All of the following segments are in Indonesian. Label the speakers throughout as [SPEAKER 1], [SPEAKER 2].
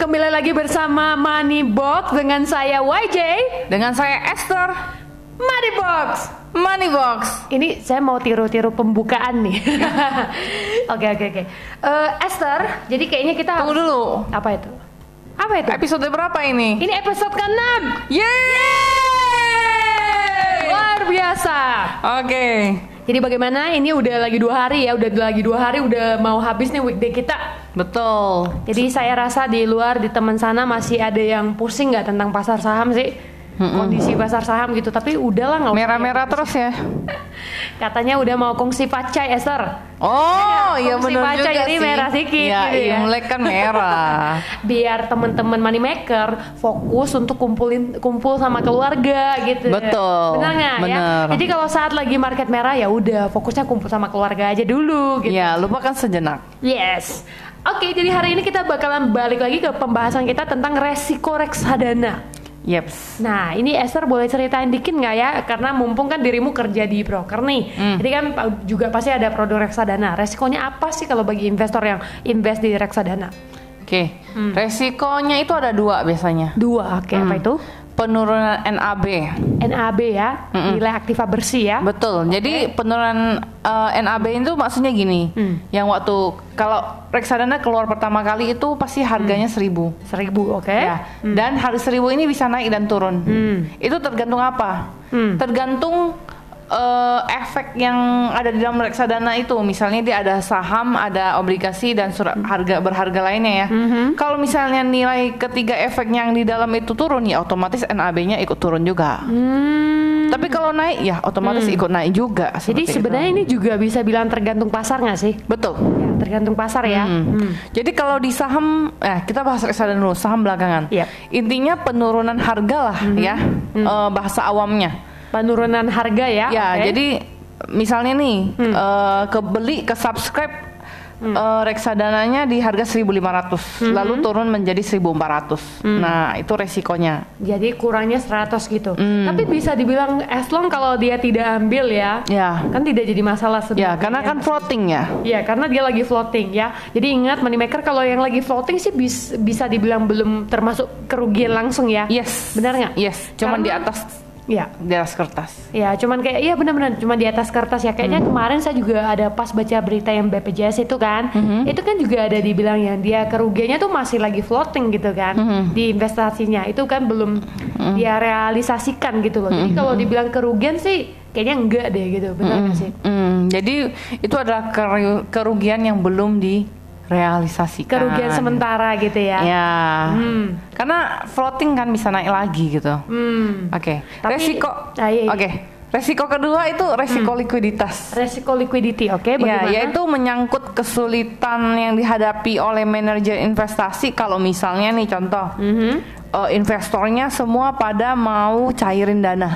[SPEAKER 1] Kembali lagi bersama Money Box dengan saya YJ
[SPEAKER 2] Dengan saya Esther
[SPEAKER 1] Money Box.
[SPEAKER 2] Money Box.
[SPEAKER 1] Ini saya mau tiru-tiru pembukaan nih. Oke oke oke. Eh, Esther, jadi kayaknya kita
[SPEAKER 2] Tunggu
[SPEAKER 1] harus-
[SPEAKER 2] dulu.
[SPEAKER 1] apa itu? Apa itu?
[SPEAKER 2] Episode berapa ini?
[SPEAKER 1] Ini episode ke-6.
[SPEAKER 2] Yeay!
[SPEAKER 1] Luar biasa.
[SPEAKER 2] Oke.
[SPEAKER 1] Jadi bagaimana? Ini udah lagi dua hari ya, udah lagi dua hari, udah mau habis nih weekday kita.
[SPEAKER 2] Betul.
[SPEAKER 1] Jadi saya rasa di luar di teman sana masih ada yang pusing nggak tentang pasar saham sih kondisi pasar saham gitu. Tapi udahlah nggak usah.
[SPEAKER 2] Merah-merah terus ya.
[SPEAKER 1] Katanya udah mau kongsi pacai Esther.
[SPEAKER 2] Oh, iya
[SPEAKER 1] Kongsi
[SPEAKER 2] benar
[SPEAKER 1] baca
[SPEAKER 2] juga
[SPEAKER 1] jadi
[SPEAKER 2] sih.
[SPEAKER 1] merah dikit
[SPEAKER 2] Ya,
[SPEAKER 1] gitu ya.
[SPEAKER 2] Imlek kan merah.
[SPEAKER 1] Biar teman-teman money maker fokus untuk kumpulin kumpul sama keluarga gitu.
[SPEAKER 2] Betul.
[SPEAKER 1] Benar nggak ya?
[SPEAKER 2] Bener.
[SPEAKER 1] Jadi kalau saat lagi market merah ya udah fokusnya kumpul sama keluarga aja dulu gitu.
[SPEAKER 2] Ya, lupakan sejenak.
[SPEAKER 1] Yes. Oke, jadi hari ini kita bakalan balik lagi ke pembahasan kita tentang resiko reksadana.
[SPEAKER 2] Yeps.
[SPEAKER 1] Nah, ini Esther boleh ceritain dikit nggak ya? Karena mumpung kan dirimu kerja di broker nih,
[SPEAKER 2] Hmm.
[SPEAKER 1] jadi kan pa- juga pasti ada produk reksadana. Resikonya apa sih kalau bagi investor yang invest di reksadana?
[SPEAKER 2] Oke.
[SPEAKER 1] Hmm.
[SPEAKER 2] Resikonya itu ada dua Hmm. biasanya.
[SPEAKER 1] Dua, oke apa itu?
[SPEAKER 2] Penurunan NAB.
[SPEAKER 1] NAB ya, nilai aktiva bersih ya.
[SPEAKER 2] Betul. Jadi penurunan eh, NAB itu maksudnya gini,
[SPEAKER 1] Hmm.
[SPEAKER 2] yang waktu kalau reksadana keluar pertama kali itu pasti harganya seribu.
[SPEAKER 1] Seribu, oke?
[SPEAKER 2] Ya. Dan harga seribu ini bisa naik dan turun.
[SPEAKER 1] Eh? Hmm.
[SPEAKER 2] Itu tergantung apa?
[SPEAKER 1] Hmm.
[SPEAKER 2] Tergantung eh, efek yang ada di dalam reksadana itu. Misalnya dia ada saham, ada obligasi dan surat
[SPEAKER 1] Hmm.
[SPEAKER 2] harga berharga lainnya ya. Kalau misalnya nilai ketiga efeknya yang di dalam itu turun ya otomatis NAB-nya ikut turun juga.
[SPEAKER 1] Hmm,
[SPEAKER 2] Tapi kalau naik ya otomatis ikut naik juga.
[SPEAKER 1] Jadi
[SPEAKER 2] seperti itu.
[SPEAKER 1] sebenarnya ini juga bisa bilang tergantung pasar nggak sih?
[SPEAKER 2] betul.
[SPEAKER 1] Ya, tergantung pasar ya.
[SPEAKER 2] Hmm.
[SPEAKER 1] Hmm.
[SPEAKER 2] Jadi kalau di saham, eh, kita bahas reksadana dulu, saham belakangan.
[SPEAKER 1] Yep.
[SPEAKER 2] Intinya penurunan harga lah
[SPEAKER 1] Hmm.
[SPEAKER 2] ya, eh, bahasa awamnya.
[SPEAKER 1] Penurunan harga ya?
[SPEAKER 2] ya,
[SPEAKER 1] oke. Hmm.
[SPEAKER 2] jadi misalnya nih eh, kebeli ke subscribe eh, reksadananya di harga 1.500,
[SPEAKER 1] Hmm.
[SPEAKER 2] lalu turun menjadi 1.400. Nah, itu resikonya.
[SPEAKER 1] jadi kurangnya 100 gitu.
[SPEAKER 2] Hmm.
[SPEAKER 1] Tapi bisa dibilang as long kalau dia tidak ambil ya.
[SPEAKER 2] Ya.
[SPEAKER 1] kan tidak jadi masalah
[SPEAKER 2] Ya,
[SPEAKER 1] sebenarnya.
[SPEAKER 2] karena kan floating ya.
[SPEAKER 1] Iya, karena dia lagi floating ya. Jadi ingat money maker kalau yang lagi floating sih bis- bisa dibilang belum termasuk kerugian langsung ya.
[SPEAKER 2] Yes.
[SPEAKER 1] Benar nggak?
[SPEAKER 2] Yes, cuman di
[SPEAKER 1] Karena-
[SPEAKER 2] atas
[SPEAKER 1] Iya.
[SPEAKER 2] di atas kertas.
[SPEAKER 1] Ya, cuman kayak iya benar-benar cuma di atas kertas ya.
[SPEAKER 2] Hmm.
[SPEAKER 1] Kayaknya kemarin saya juga ada pas baca berita yang BPJS itu kan.
[SPEAKER 2] Hmm.
[SPEAKER 1] Itu kan juga ada dibilang yang dia kerugiannya tuh masih lagi floating gitu kan
[SPEAKER 2] Hmm.
[SPEAKER 1] di investasinya. Itu kan belum dia realisasikan gitu loh.
[SPEAKER 2] Hmm.
[SPEAKER 1] Jadi kalau dibilang kerugian sih kayaknya enggak deh gitu. Benar nggak sih?
[SPEAKER 2] Hmm, jadi itu adalah keru- kerugian yang belum direalisasikan.
[SPEAKER 1] Kerugian sementara gitu ya.
[SPEAKER 2] Ya.
[SPEAKER 1] Hmm.
[SPEAKER 2] Karena floating kan bisa naik lagi gitu.
[SPEAKER 1] Hmm.
[SPEAKER 2] Oke.
[SPEAKER 1] Tapi-
[SPEAKER 2] Resiko.
[SPEAKER 1] Ah, iya, iya.
[SPEAKER 2] Oke. Resiko kedua itu resiko likuiditas.
[SPEAKER 1] Resiko liquidity, oke?
[SPEAKER 2] Ya,
[SPEAKER 1] Eh, bagaimana?
[SPEAKER 2] yaitu menyangkut kesulitan yang dihadapi oleh manajer investasi kalau misalnya nih contoh
[SPEAKER 1] Mhm.
[SPEAKER 2] eh, investornya semua pada mau cairin dana.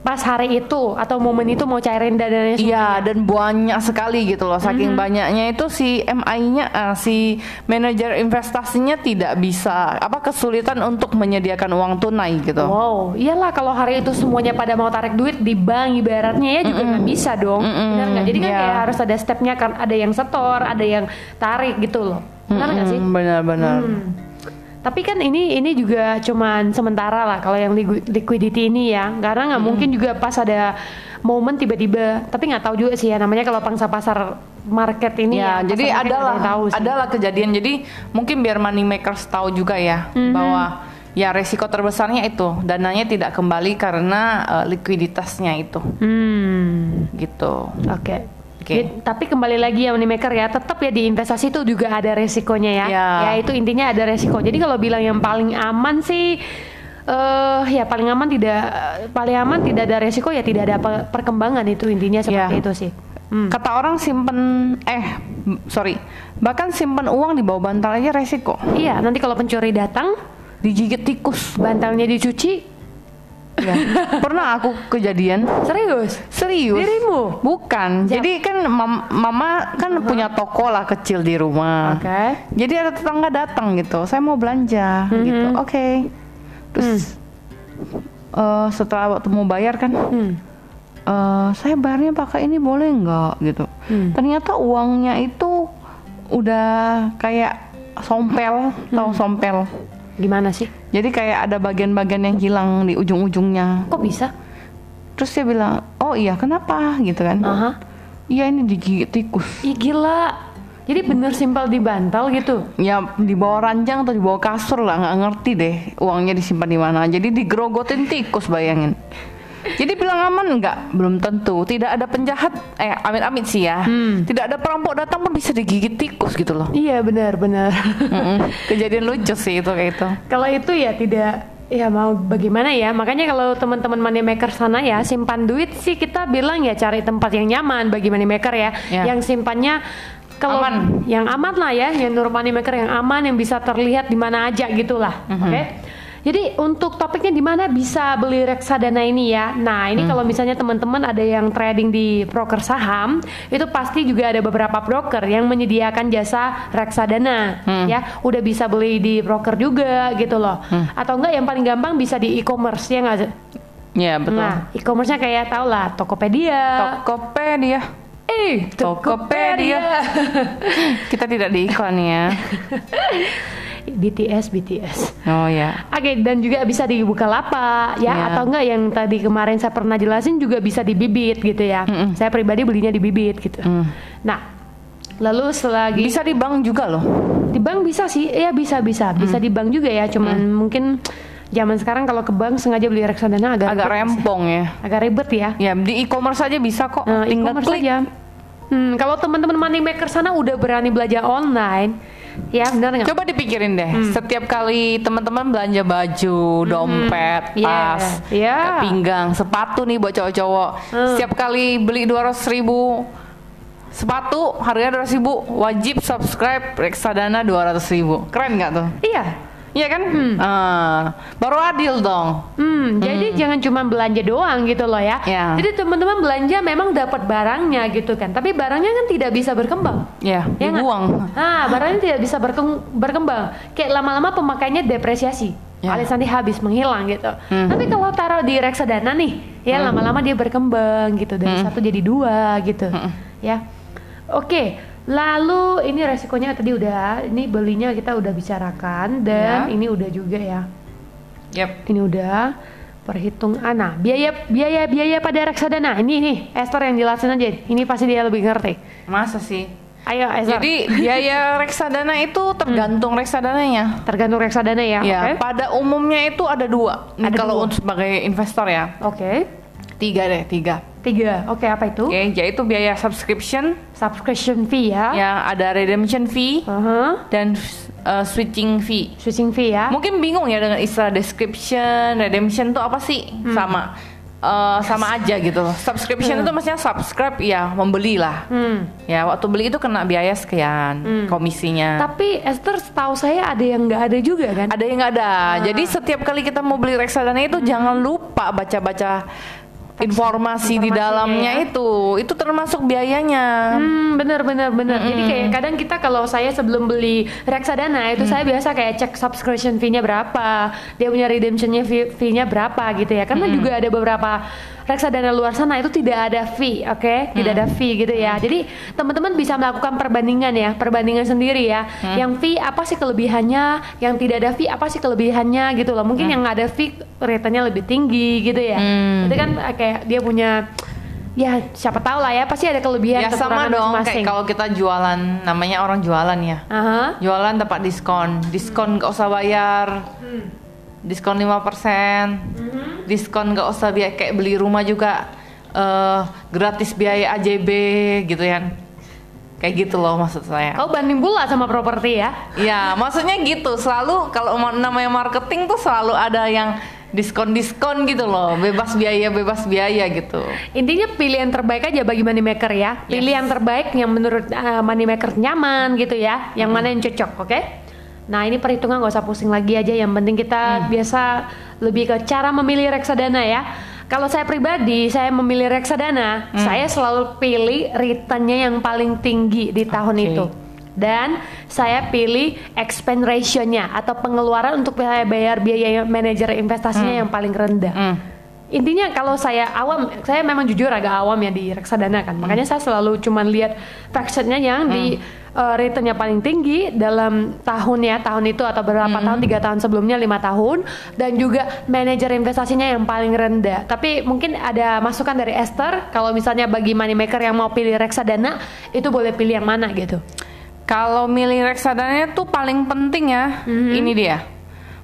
[SPEAKER 1] pas hari itu atau momen itu mau cairin dananya semua.
[SPEAKER 2] Iya dan banyak sekali gitu loh saking
[SPEAKER 1] Mm-hmm.
[SPEAKER 2] banyaknya itu si MI-nya eh, si manajer investasinya tidak bisa apa kesulitan untuk menyediakan uang tunai gitu.
[SPEAKER 1] Wow, iyalah kalau hari itu semuanya pada mau tarik duit di bank ibaratnya ya juga nggak bisa dong, benar nggak? Jadi kan
[SPEAKER 2] Iya.
[SPEAKER 1] kayak harus ada stepnya kan, ada yang setor, ada yang tarik gitu loh, benar nggak sih? Mm-hmm. Hmm.
[SPEAKER 2] Mm-mm, Benar-benar.
[SPEAKER 1] Tapi kan ini ini juga cuman sementara lah kalau yang ligu- liquidity ini ya, karena nggak mungkin juga pas ada momen tiba-tiba. Tapi nggak tahu juga sih ya namanya kalau pangsa pasar market ini
[SPEAKER 2] Ya,
[SPEAKER 1] ya.
[SPEAKER 2] jadi
[SPEAKER 1] pasar market
[SPEAKER 2] adalah
[SPEAKER 1] nggak ada yang tahu sih.
[SPEAKER 2] adalah kejadian. Jadi mungkin biar money makers tahu juga ya
[SPEAKER 1] Mm-hmm.
[SPEAKER 2] bahwa ya resiko terbesarnya itu dananya tidak kembali karena eh, likuiditasnya itu
[SPEAKER 1] Hmm.
[SPEAKER 2] gitu.
[SPEAKER 1] Oke.
[SPEAKER 2] Oke.
[SPEAKER 1] Jadi, Tapi kembali lagi ya money maker ya, tetap ya di investasi itu juga ada resikonya ya.
[SPEAKER 2] Ya.
[SPEAKER 1] Ya itu intinya ada resiko. Jadi kalau bilang yang paling aman sih eh ya paling aman tidak paling aman tidak ada resiko ya tidak ada pe- perkembangan itu intinya seperti
[SPEAKER 2] Ya.
[SPEAKER 1] itu sih. Hmm.
[SPEAKER 2] Kata orang simpen eh m- sorry bahkan simpen uang di bawah bantal aja resiko
[SPEAKER 1] Iya, nanti kalau pencuri datang,
[SPEAKER 2] digigit tikus.
[SPEAKER 1] bantalnya dicuci.
[SPEAKER 2] Ya. Pernah aku kejadian
[SPEAKER 1] Serius?
[SPEAKER 2] serius.
[SPEAKER 1] Dirimu?
[SPEAKER 2] Bukan.
[SPEAKER 1] Siap.
[SPEAKER 2] Jadi kan mam- mama kan punya toko lah kecil di rumah.
[SPEAKER 1] Oke.
[SPEAKER 2] Jadi ada tetangga datang gitu, saya mau belanja gitu, oke. Terus eh, setelah waktu mau bayar kan,
[SPEAKER 1] Hmm.
[SPEAKER 2] eh, saya bayarnya pakai ini boleh nggak gitu. Ternyata uangnya itu udah kayak sompel, tahu sompel.
[SPEAKER 1] Gimana sih?
[SPEAKER 2] Jadi kayak ada bagian-bagian yang hilang di ujung-ujungnya.
[SPEAKER 1] Kok bisa?
[SPEAKER 2] Terus dia bilang, "Oh iya, kenapa?" gitu kan.
[SPEAKER 1] Aha.
[SPEAKER 2] Iya, ini digigit tikus.
[SPEAKER 1] Ih gila. Jadi bener simpel di bantal gitu.
[SPEAKER 2] Ya di bawah ranjang atau di bawah kasur lah nggak ngerti deh uangnya disimpan di mana. Jadi digerogotin tikus bayangin. Jadi bilang aman nggak? Belum tentu. Tidak ada penjahat. Eh amit-amit sih ya. Tidak ada perampok datang pun bisa digigit tikus gitu loh.
[SPEAKER 1] Iya benar benar.
[SPEAKER 2] Mm-mm. Kejadian lucu sih itu kayak itu.
[SPEAKER 1] kalau itu ya tidak ya mau bagaimana ya. Makanya kalau teman-teman money maker sana ya simpan duit sih kita bilang ya cari tempat yang nyaman bagi money maker ya.
[SPEAKER 2] Ya.
[SPEAKER 1] Yang simpannya kalau
[SPEAKER 2] Aman.
[SPEAKER 1] yang aman lah ya, yang nur money maker yang aman yang bisa terlihat di mana aja gitulah.
[SPEAKER 2] Mhm.
[SPEAKER 1] Oke. Jadi untuk topiknya di mana bisa beli reksadana ini ya. Nah,
[SPEAKER 2] Mhm.
[SPEAKER 1] ini kalau misalnya teman-teman ada yang trading di broker saham, itu pasti juga ada beberapa broker yang menyediakan jasa reksadana
[SPEAKER 2] Mhm.
[SPEAKER 1] ya. Udah bisa beli di broker juga gitu loh.
[SPEAKER 2] Mhm.
[SPEAKER 1] Atau enggak yang paling gampang bisa di e-commerce ya enggak?
[SPEAKER 2] Ya betul.
[SPEAKER 1] Nah, e-commerce-nya kayak tau lah Tokopedia.
[SPEAKER 2] Tokopedia.
[SPEAKER 1] eh,
[SPEAKER 2] Tokopedia. Kita tidak di iklan ya.
[SPEAKER 1] BTS BTS.
[SPEAKER 2] Oh ya.
[SPEAKER 1] Oke, dan juga bisa di Bukalapak ya
[SPEAKER 2] Iya.
[SPEAKER 1] atau enggak yang tadi kemarin saya pernah jelasin juga bisa di Bibit gitu ya.
[SPEAKER 2] Mm-mm.
[SPEAKER 1] Saya pribadi belinya di Bibit gitu.
[SPEAKER 2] Mm.
[SPEAKER 1] Nah, lalu selagi
[SPEAKER 2] Bisa di bank juga loh.
[SPEAKER 1] di bank bisa sih, ya bisa bisa, bisa
[SPEAKER 2] Mm.
[SPEAKER 1] di bank juga ya. Cuman mungkin zaman sekarang kalau ke bank sengaja beli reksadana agak
[SPEAKER 2] Agak
[SPEAKER 1] ribet sih.
[SPEAKER 2] rempong ya.
[SPEAKER 1] agak ribet ya.
[SPEAKER 2] Ya di e-commerce aja bisa kok.
[SPEAKER 1] Nah,
[SPEAKER 2] Tinggal
[SPEAKER 1] e-commerce
[SPEAKER 2] klik.
[SPEAKER 1] aja. Hmm, kalau teman-teman money maker sana udah berani belanja online, ya benar nggak?
[SPEAKER 2] Coba dipikirin deh.
[SPEAKER 1] Hmm.
[SPEAKER 2] Setiap kali teman-teman belanja baju, dompet,
[SPEAKER 1] Iya,
[SPEAKER 2] tas,
[SPEAKER 1] iya.
[SPEAKER 2] ikat pinggang, sepatu nih buat cowok-cowok.
[SPEAKER 1] Hmm.
[SPEAKER 2] Setiap kali beli 200.000 ribu sepatu harganya 200.000 ribu wajib subscribe reksadana 200.000 ribu keren nggak tuh
[SPEAKER 1] Iya,
[SPEAKER 2] Iya kan? Ah, baru adil dong.
[SPEAKER 1] Hmm, jadi jangan cuma belanja doang gitu loh ya.
[SPEAKER 2] Ya.
[SPEAKER 1] Jadi teman-teman belanja memang dapat barangnya gitu kan, tapi barangnya kan tidak bisa berkembang.
[SPEAKER 2] Ya,
[SPEAKER 1] Ya nggak?
[SPEAKER 2] dibuang.
[SPEAKER 1] Ah, barangnya tidak bisa berkeng- berkembang. Kayak lama-lama pemakainya depresiasi.
[SPEAKER 2] Ya. Hmm.
[SPEAKER 1] Alias nanti habis menghilang gitu. Tapi kalau taruh di reksadana nih, ya lama-lama dia berkembang gitu
[SPEAKER 2] Hmm.
[SPEAKER 1] dari satu jadi dua gitu. Ya. Oke. Lalu ini resikonya tadi udah, ini belinya kita udah bicarakan dan
[SPEAKER 2] Ya.
[SPEAKER 1] ini udah juga ya
[SPEAKER 2] Yep.
[SPEAKER 1] ini udah perhitung ana biaya biaya biaya pada reksadana ini nih Esther yang jelasin aja ini pasti dia lebih ngerti
[SPEAKER 2] Masa sih?
[SPEAKER 1] ayo Esther
[SPEAKER 2] Jadi biaya reksadana itu tergantung reksadananya.
[SPEAKER 1] tergantung reksadana ya
[SPEAKER 2] Ya,
[SPEAKER 1] oke
[SPEAKER 2] pada umumnya itu ada dua. Ini
[SPEAKER 1] Ada
[SPEAKER 2] kalau
[SPEAKER 1] dua.
[SPEAKER 2] untuk sebagai investor ya,
[SPEAKER 1] Oke.
[SPEAKER 2] tiga deh, tiga.
[SPEAKER 1] tiga oke apa itu
[SPEAKER 2] Oke, yaitu biaya subscription,
[SPEAKER 1] subscription fee ya
[SPEAKER 2] yang ada redemption fee
[SPEAKER 1] Aha.
[SPEAKER 2] dan uh, switching fee.
[SPEAKER 1] switching fee ya
[SPEAKER 2] Mungkin bingung ya dengan istilah description, redemption tuh apa sih? Sama, uh, sama aja gitu. loh. Subscription itu maksudnya subscribe ya, membelilah.
[SPEAKER 1] hmm.
[SPEAKER 2] Ya, waktu beli itu kena biaya sekian, komisinya.
[SPEAKER 1] tapi Esther setahu saya ada yang nggak ada juga kan
[SPEAKER 2] ada yang nggak ada. Jadi setiap kali kita mau beli reksadana
[SPEAKER 1] Hmm.
[SPEAKER 2] itu jangan lupa baca-baca informasi di
[SPEAKER 1] informasinya
[SPEAKER 2] dalamnya
[SPEAKER 1] ya.
[SPEAKER 2] itu. Itu termasuk biayanya.
[SPEAKER 1] Hmm, bener bener bener. Jadi kayak kadang kita kalau saya sebelum beli reksadana itu saya biasa kayak cek subscription fee-nya berapa, dia punya redemption-nya fee- fee-nya berapa gitu ya. Karena juga ada beberapa reksadana luar sana itu tidak ada fee, oke? Tidak ada fee gitu ya. Jadi teman-teman bisa melakukan perbandingan ya, perbandingan sendiri ya. Yang fee apa sih kelebihannya, yang tidak ada fee apa sih kelebihannya gitu loh. Mungkin yang ada fee ratenya lebih tinggi gitu ya.
[SPEAKER 2] Hmm.
[SPEAKER 1] Itu kan eh, kayak dia punya ya siapa tahu lah ya pasti ada kelebihan
[SPEAKER 2] Ya
[SPEAKER 1] kekurangan
[SPEAKER 2] sama dong
[SPEAKER 1] masing-masing.
[SPEAKER 2] kayak kalau kita jualan namanya orang jualan ya.
[SPEAKER 1] Aha.
[SPEAKER 2] Jualan tempat diskon. Diskon nggak usah bayar.
[SPEAKER 1] Hmm.
[SPEAKER 2] Diskon 5%. Diskon nggak usah biaya kayak beli rumah juga eh gratis biaya AJB gitu ya. Kayak gitu loh maksud saya.
[SPEAKER 1] Oh banding pula sama properti ya?
[SPEAKER 2] Ya, maksudnya gitu. Selalu kalau ma- namanya marketing tuh selalu ada yang diskon-diskon gitu loh. Bebas biaya, bebas biaya gitu.
[SPEAKER 1] Intinya pilihan terbaik aja bagi money maker ya. Pilih
[SPEAKER 2] Yes.
[SPEAKER 1] yang terbaik yang menurut uh, money maker nyaman gitu ya.
[SPEAKER 2] Hmm.
[SPEAKER 1] Yang mana yang cocok, oke? Nah ini perhitungan nggak usah pusing lagi aja. Yang penting
[SPEAKER 2] Hmm.
[SPEAKER 1] kita biasa lebih ke cara memilih reksadana ya. Kalau saya pribadi, saya memilih reksadana.
[SPEAKER 2] Hmm.
[SPEAKER 1] Saya selalu pilih returnnya yang paling tinggi di tahun
[SPEAKER 2] Oke.
[SPEAKER 1] itu. Dan saya pilih expense ratio-nya atau pengeluaran untuk saya bayar biaya manajer investasinya yang paling rendah.
[SPEAKER 2] Hmm.
[SPEAKER 1] intinya kalau saya awam saya memang jujur agak awam ya di reksadana
[SPEAKER 2] Hmm.
[SPEAKER 1] kan makanya saya selalu cuman lihat factionnya yang di uh, returnnya paling tinggi dalam tahunnya tahun itu atau berapa
[SPEAKER 2] Hmm.
[SPEAKER 1] tahun tiga tahun sebelumnya lima tahun dan juga manajer investasinya yang paling rendah tapi mungkin ada masukan dari Esther kalau misalnya bagi money maker yang mau pilih reksadana itu boleh pilih yang mana gitu
[SPEAKER 2] Kalau milih reksadana itu paling penting ya, ini dia.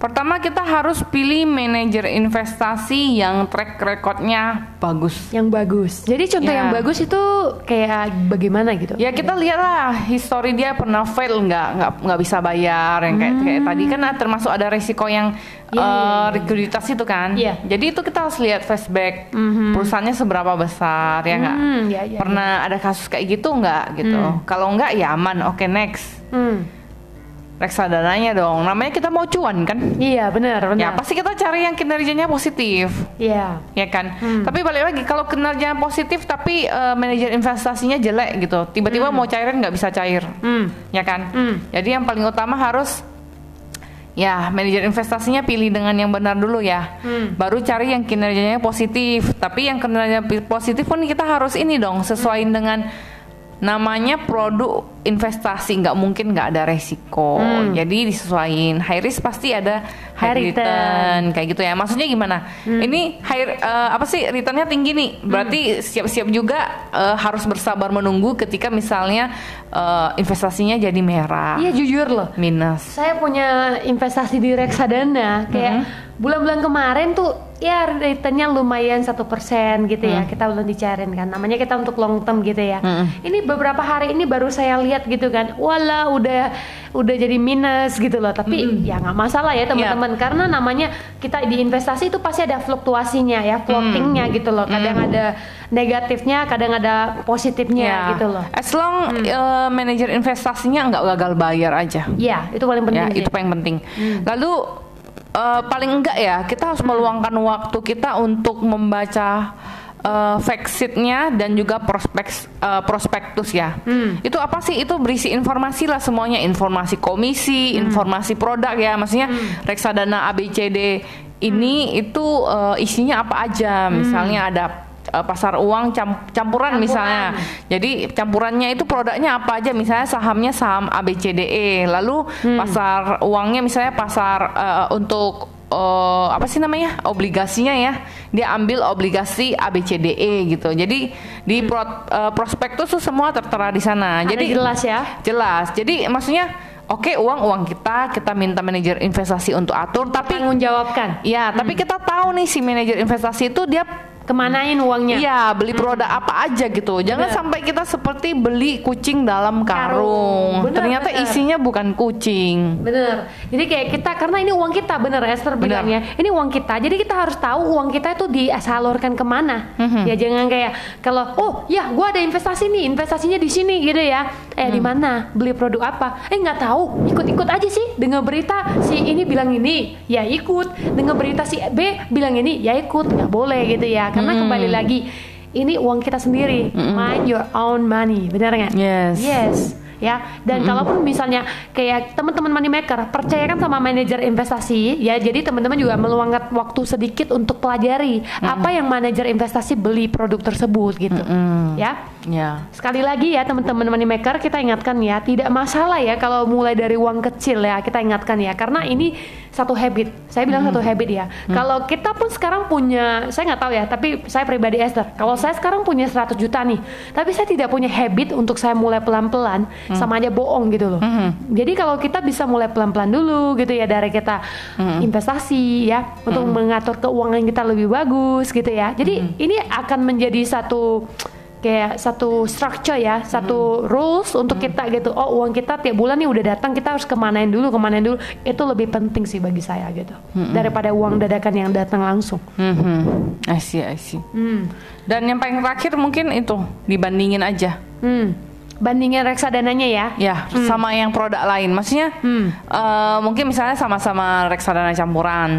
[SPEAKER 2] Pertama kita harus pilih manajer investasi yang track recordnya bagus.
[SPEAKER 1] yang bagus jadi contoh
[SPEAKER 2] Ya.
[SPEAKER 1] yang bagus itu kayak bagaimana gitu
[SPEAKER 2] Ya kita lihatlah histori dia pernah fail nggak nggak nggak bisa bayar yang kayak kayak tadi
[SPEAKER 1] Hmm.
[SPEAKER 2] kan ah, termasuk ada resiko yang
[SPEAKER 1] Iya, iya,
[SPEAKER 2] eh,
[SPEAKER 1] iya.
[SPEAKER 2] likuiditas itu kan.
[SPEAKER 1] Iya.
[SPEAKER 2] Jadi itu kita harus lihat flashback perusahaannya seberapa besar ya nggak.
[SPEAKER 1] Hmm, ya, ya,
[SPEAKER 2] Pernah ada kasus kayak gitu nggak gitu. Kalau nggak ya aman. Oke next
[SPEAKER 1] Hmm.
[SPEAKER 2] reksadananya dong. Namanya kita mau cuan kan.
[SPEAKER 1] Iya benar benar.
[SPEAKER 2] Ya pasti kita cari yang kinerjanya positif.
[SPEAKER 1] Iya.
[SPEAKER 2] ya kan. Tapi balik lagi kalau kinerja positif tapi eh, manajer investasinya jelek gitu, tiba-tiba mau cairan nggak bisa cair,
[SPEAKER 1] Hmm.
[SPEAKER 2] ya kan.
[SPEAKER 1] Hmm.
[SPEAKER 2] Jadi yang paling utama harus ya manajer investasinya pilih dengan yang benar dulu ya.
[SPEAKER 1] Hmm.
[SPEAKER 2] Baru cari yang kinerjanya positif. Tapi yang kinerja pi- positif pun kita harus ini dong
[SPEAKER 1] Hmm.
[SPEAKER 2] sesuaiin dengan namanya produk investasi nggak mungkin nggak ada resiko jadi disesuaiin high risk pasti ada
[SPEAKER 1] Hmm.
[SPEAKER 2] high,
[SPEAKER 1] High
[SPEAKER 2] return.
[SPEAKER 1] return. Hmm.
[SPEAKER 2] kayak gitu ya maksudnya gimana ini high eh, apa sih returnnya tinggi nih berarti siap-siap juga eh, harus bersabar menunggu ketika misalnya eh, investasinya jadi merah
[SPEAKER 1] Iya jujur loh.
[SPEAKER 2] minus
[SPEAKER 1] Saya punya investasi di reksadana kayak bulan-bulan kemarin tuh ya returnnya lumayan satu persen gitu ya kita belum dicairin kan namanya kita untuk long term gitu ya ini beberapa hari ini baru saya lihat gitu kan wala udah udah jadi minus gitu loh tapi ya nggak masalah ya teman-teman karena namanya kita di investasi itu pasti ada fluktuasinya ya floatingnya gitu loh kadang ada negatifnya kadang ada positifnya
[SPEAKER 2] Ya.
[SPEAKER 1] gitu loh
[SPEAKER 2] as long eh, manajer investasinya nggak gagal bayar aja
[SPEAKER 1] ya itu paling penting
[SPEAKER 2] ya
[SPEAKER 1] sih.
[SPEAKER 2] itu paling penting lalu eh, paling enggak ya kita harus meluangkan waktu kita untuk membaca eh, fact sheet-nya dan juga prospek eh, prospektus ya itu apa sih itu berisi informasi lah semuanya informasi komisi informasi produk ya maksudnya reksadana ABCD ini itu eh, isinya apa aja misalnya ada eh, pasar uang cam- campuran, misalnya Nah, jadi campurannya itu produknya apa aja misalnya sahamnya saham ABCDE E. lalu
[SPEAKER 1] Hmm.
[SPEAKER 2] pasar uangnya misalnya pasar eh, untuk eh, apa sih namanya obligasinya ya dia ambil obligasi ABCDE gitu jadi di pro- eh, prospektus tuh semua tertera di sana
[SPEAKER 1] Hmm. Ada
[SPEAKER 2] jadi
[SPEAKER 1] jelas ya
[SPEAKER 2] jelas jadi maksudnya oke uang uang kita kita minta manajer investasi untuk atur tapi
[SPEAKER 1] tanggung jawabkan
[SPEAKER 2] Ya, tapi
[SPEAKER 1] Hmm.
[SPEAKER 2] kita tahu nih si manajer investasi itu dia
[SPEAKER 1] kemanain uangnya
[SPEAKER 2] Iya, beli produk apa aja gitu. Jangan
[SPEAKER 1] Bener.
[SPEAKER 2] sampai kita seperti beli kucing dalam karung.
[SPEAKER 1] Karung. Bener,
[SPEAKER 2] Ternyata
[SPEAKER 1] bener.
[SPEAKER 2] isinya bukan kucing.
[SPEAKER 1] bener jadi kayak kita karena ini uang kita bener Esther
[SPEAKER 2] Hmm. Bener.
[SPEAKER 1] bilangnya ini uang kita jadi kita harus tahu uang kita itu disalurkan kemana
[SPEAKER 2] Hmm.
[SPEAKER 1] ya jangan kayak kalau oh ya gua ada investasi nih investasinya di sini gitu ya eh di
[SPEAKER 2] Hmm.
[SPEAKER 1] mana beli produk apa eh nggak tahu ikut-ikut aja sih dengar berita si ini bilang ini ya ikut dengar berita si B bilang ini ya ikut nggak boleh gitu ya karena
[SPEAKER 2] Hmm.
[SPEAKER 1] kembali lagi ini uang kita sendiri mind your own money benar nggak
[SPEAKER 2] Yes.
[SPEAKER 1] Yes, ya. Dan kalaupun misalnya kayak teman-teman money maker percayakan sama manajer investasi, ya. Jadi teman-teman juga meluangkan waktu sedikit untuk pelajari apa yang manajer investasi beli produk tersebut gitu. Ya.
[SPEAKER 2] Ya.
[SPEAKER 1] Sekali lagi ya teman-teman money maker kita ingatkan ya tidak masalah ya kalau mulai dari uang kecil ya kita ingatkan ya karena ini satu habit saya bilang satu habit ya kalau kita pun sekarang punya saya nggak tahu ya tapi saya pribadi Esther kalau saya sekarang punya 100 juta nih tapi saya tidak punya habit untuk saya mulai pelan-pelan sama aja bohong gitu loh jadi kalau kita bisa mulai pelan-pelan dulu gitu ya dari kita investasi ya untuk mengatur keuangan kita lebih bagus gitu ya jadi ini akan menjadi satu kayak satu structure ya,
[SPEAKER 2] Hmm.
[SPEAKER 1] satu rules untuk kita gitu. Oh, uang kita tiap bulan nih udah datang, kita harus kemanain dulu, kemanain dulu. Itu lebih penting sih bagi saya gitu.
[SPEAKER 2] Hmm.
[SPEAKER 1] Daripada uang dadakan yang datang langsung.
[SPEAKER 2] Mhm. I see, I see.
[SPEAKER 1] Hmm.
[SPEAKER 2] Dan yang paling terakhir mungkin itu dibandingin aja.
[SPEAKER 1] Hmm. Bandingin reksadananya ya.
[SPEAKER 2] Ya, sama yang produk lain. Maksudnya
[SPEAKER 1] Hmm.
[SPEAKER 2] eh, mungkin misalnya sama-sama reksadana
[SPEAKER 1] Hmm.
[SPEAKER 2] campuran.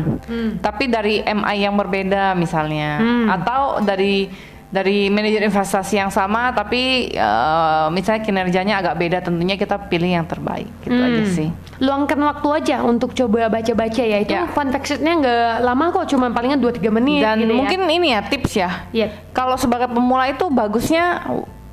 [SPEAKER 2] Tapi dari MI yang berbeda misalnya atau dari dari manajer investasi yang sama tapi eh, misalnya kinerjanya agak beda tentunya kita pilih yang terbaik gitu aja
[SPEAKER 1] Hmm.
[SPEAKER 2] sih.
[SPEAKER 1] Luangkan waktu aja untuk coba baca-baca ya. Itu
[SPEAKER 2] Ya.
[SPEAKER 1] fun fact sheet-nya nggak lama kok, cuma palingan 2-3 menit
[SPEAKER 2] Dan
[SPEAKER 1] gitu ya.
[SPEAKER 2] mungkin ini ya tips ya.
[SPEAKER 1] Iya.
[SPEAKER 2] Kalau sebagai pemula itu bagusnya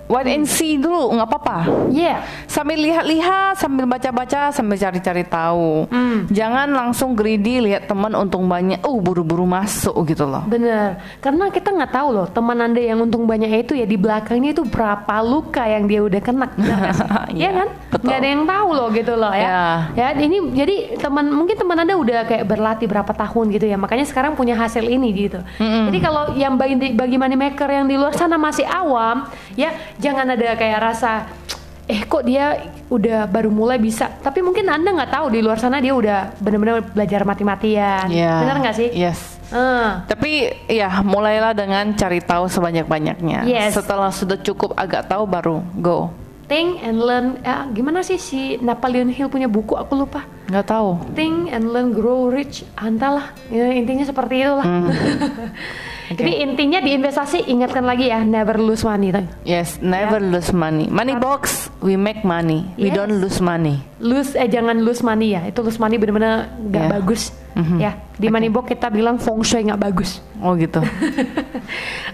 [SPEAKER 2] wait and see dulu nggak apa-apa.
[SPEAKER 1] Iya.
[SPEAKER 2] Sambil lihat-lihat, sambil baca-baca, sambil cari-cari tahu.
[SPEAKER 1] Hmm.
[SPEAKER 2] Jangan langsung greedy lihat teman untung banyak, uh buru-buru masuk gitu loh.
[SPEAKER 1] Bener, karena kita nggak tahu loh teman anda yang untung banyaknya itu ya di belakangnya itu berapa luka yang dia udah kena, bener nggak sih? Iya
[SPEAKER 2] Iya,
[SPEAKER 1] kan?
[SPEAKER 2] betul. Iya.
[SPEAKER 1] Nggak ada yang tahu loh gitu loh ya. Ya ini jadi teman mungkin teman anda udah kayak berlatih berapa tahun gitu ya, makanya sekarang punya hasil ini gitu. Jadi kalau yang bagi, bagi money maker yang di luar sana masih awam, ya jangan ada kayak rasa eh kok dia udah baru mulai bisa, tapi mungkin anda nggak tahu di luar sana dia udah benar-benar belajar mati-matian,
[SPEAKER 2] Iya.
[SPEAKER 1] bener nggak sih?
[SPEAKER 2] Yes.
[SPEAKER 1] Eh.
[SPEAKER 2] Tapi ya mulailah dengan cari tahu sebanyak-banyaknya.
[SPEAKER 1] Yes.
[SPEAKER 2] Setelah sudah cukup agak tahu baru go.
[SPEAKER 1] Think and Learn eh, gimana sih si Napoleon Hill punya buku aku lupa
[SPEAKER 2] Nggak tahu.
[SPEAKER 1] Think and Learn Grow Rich antalah ya, intinya seperti itulah jadi intinya di investasi ingatkan lagi ya never lose money Teng.
[SPEAKER 2] Yes, never lose money. Money box, we make money. We
[SPEAKER 1] Ya. Yes.
[SPEAKER 2] don't lose money.
[SPEAKER 1] lose eh jangan lose money ya itu lose money bener-bener nggak
[SPEAKER 2] Yeah.
[SPEAKER 1] bagus ya di money box kita bilang feng shui nggak bagus
[SPEAKER 2] Oh gitu.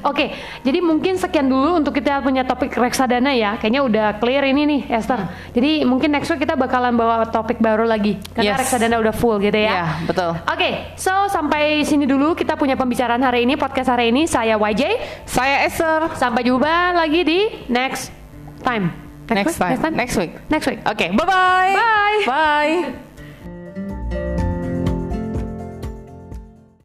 [SPEAKER 1] Oke, jadi mungkin sekian dulu untuk kita punya topik reksadana ya. Kayaknya udah clear ini nih, Esther. Jadi mungkin next week kita bakalan bawa topik baru lagi karena
[SPEAKER 2] Yes.
[SPEAKER 1] reksadana udah full gitu ya.
[SPEAKER 2] Ya, betul.
[SPEAKER 1] Oke, so sampai sini dulu kita punya pembicaraan hari ini, podcast hari ini. Saya YJ.
[SPEAKER 2] Saya Esther.
[SPEAKER 1] Sampai jumpa lagi di next time.
[SPEAKER 2] Next
[SPEAKER 1] week?
[SPEAKER 2] time. Next week.
[SPEAKER 1] Next week.
[SPEAKER 2] Oke, bye-bye.
[SPEAKER 1] Bye.
[SPEAKER 2] Bye.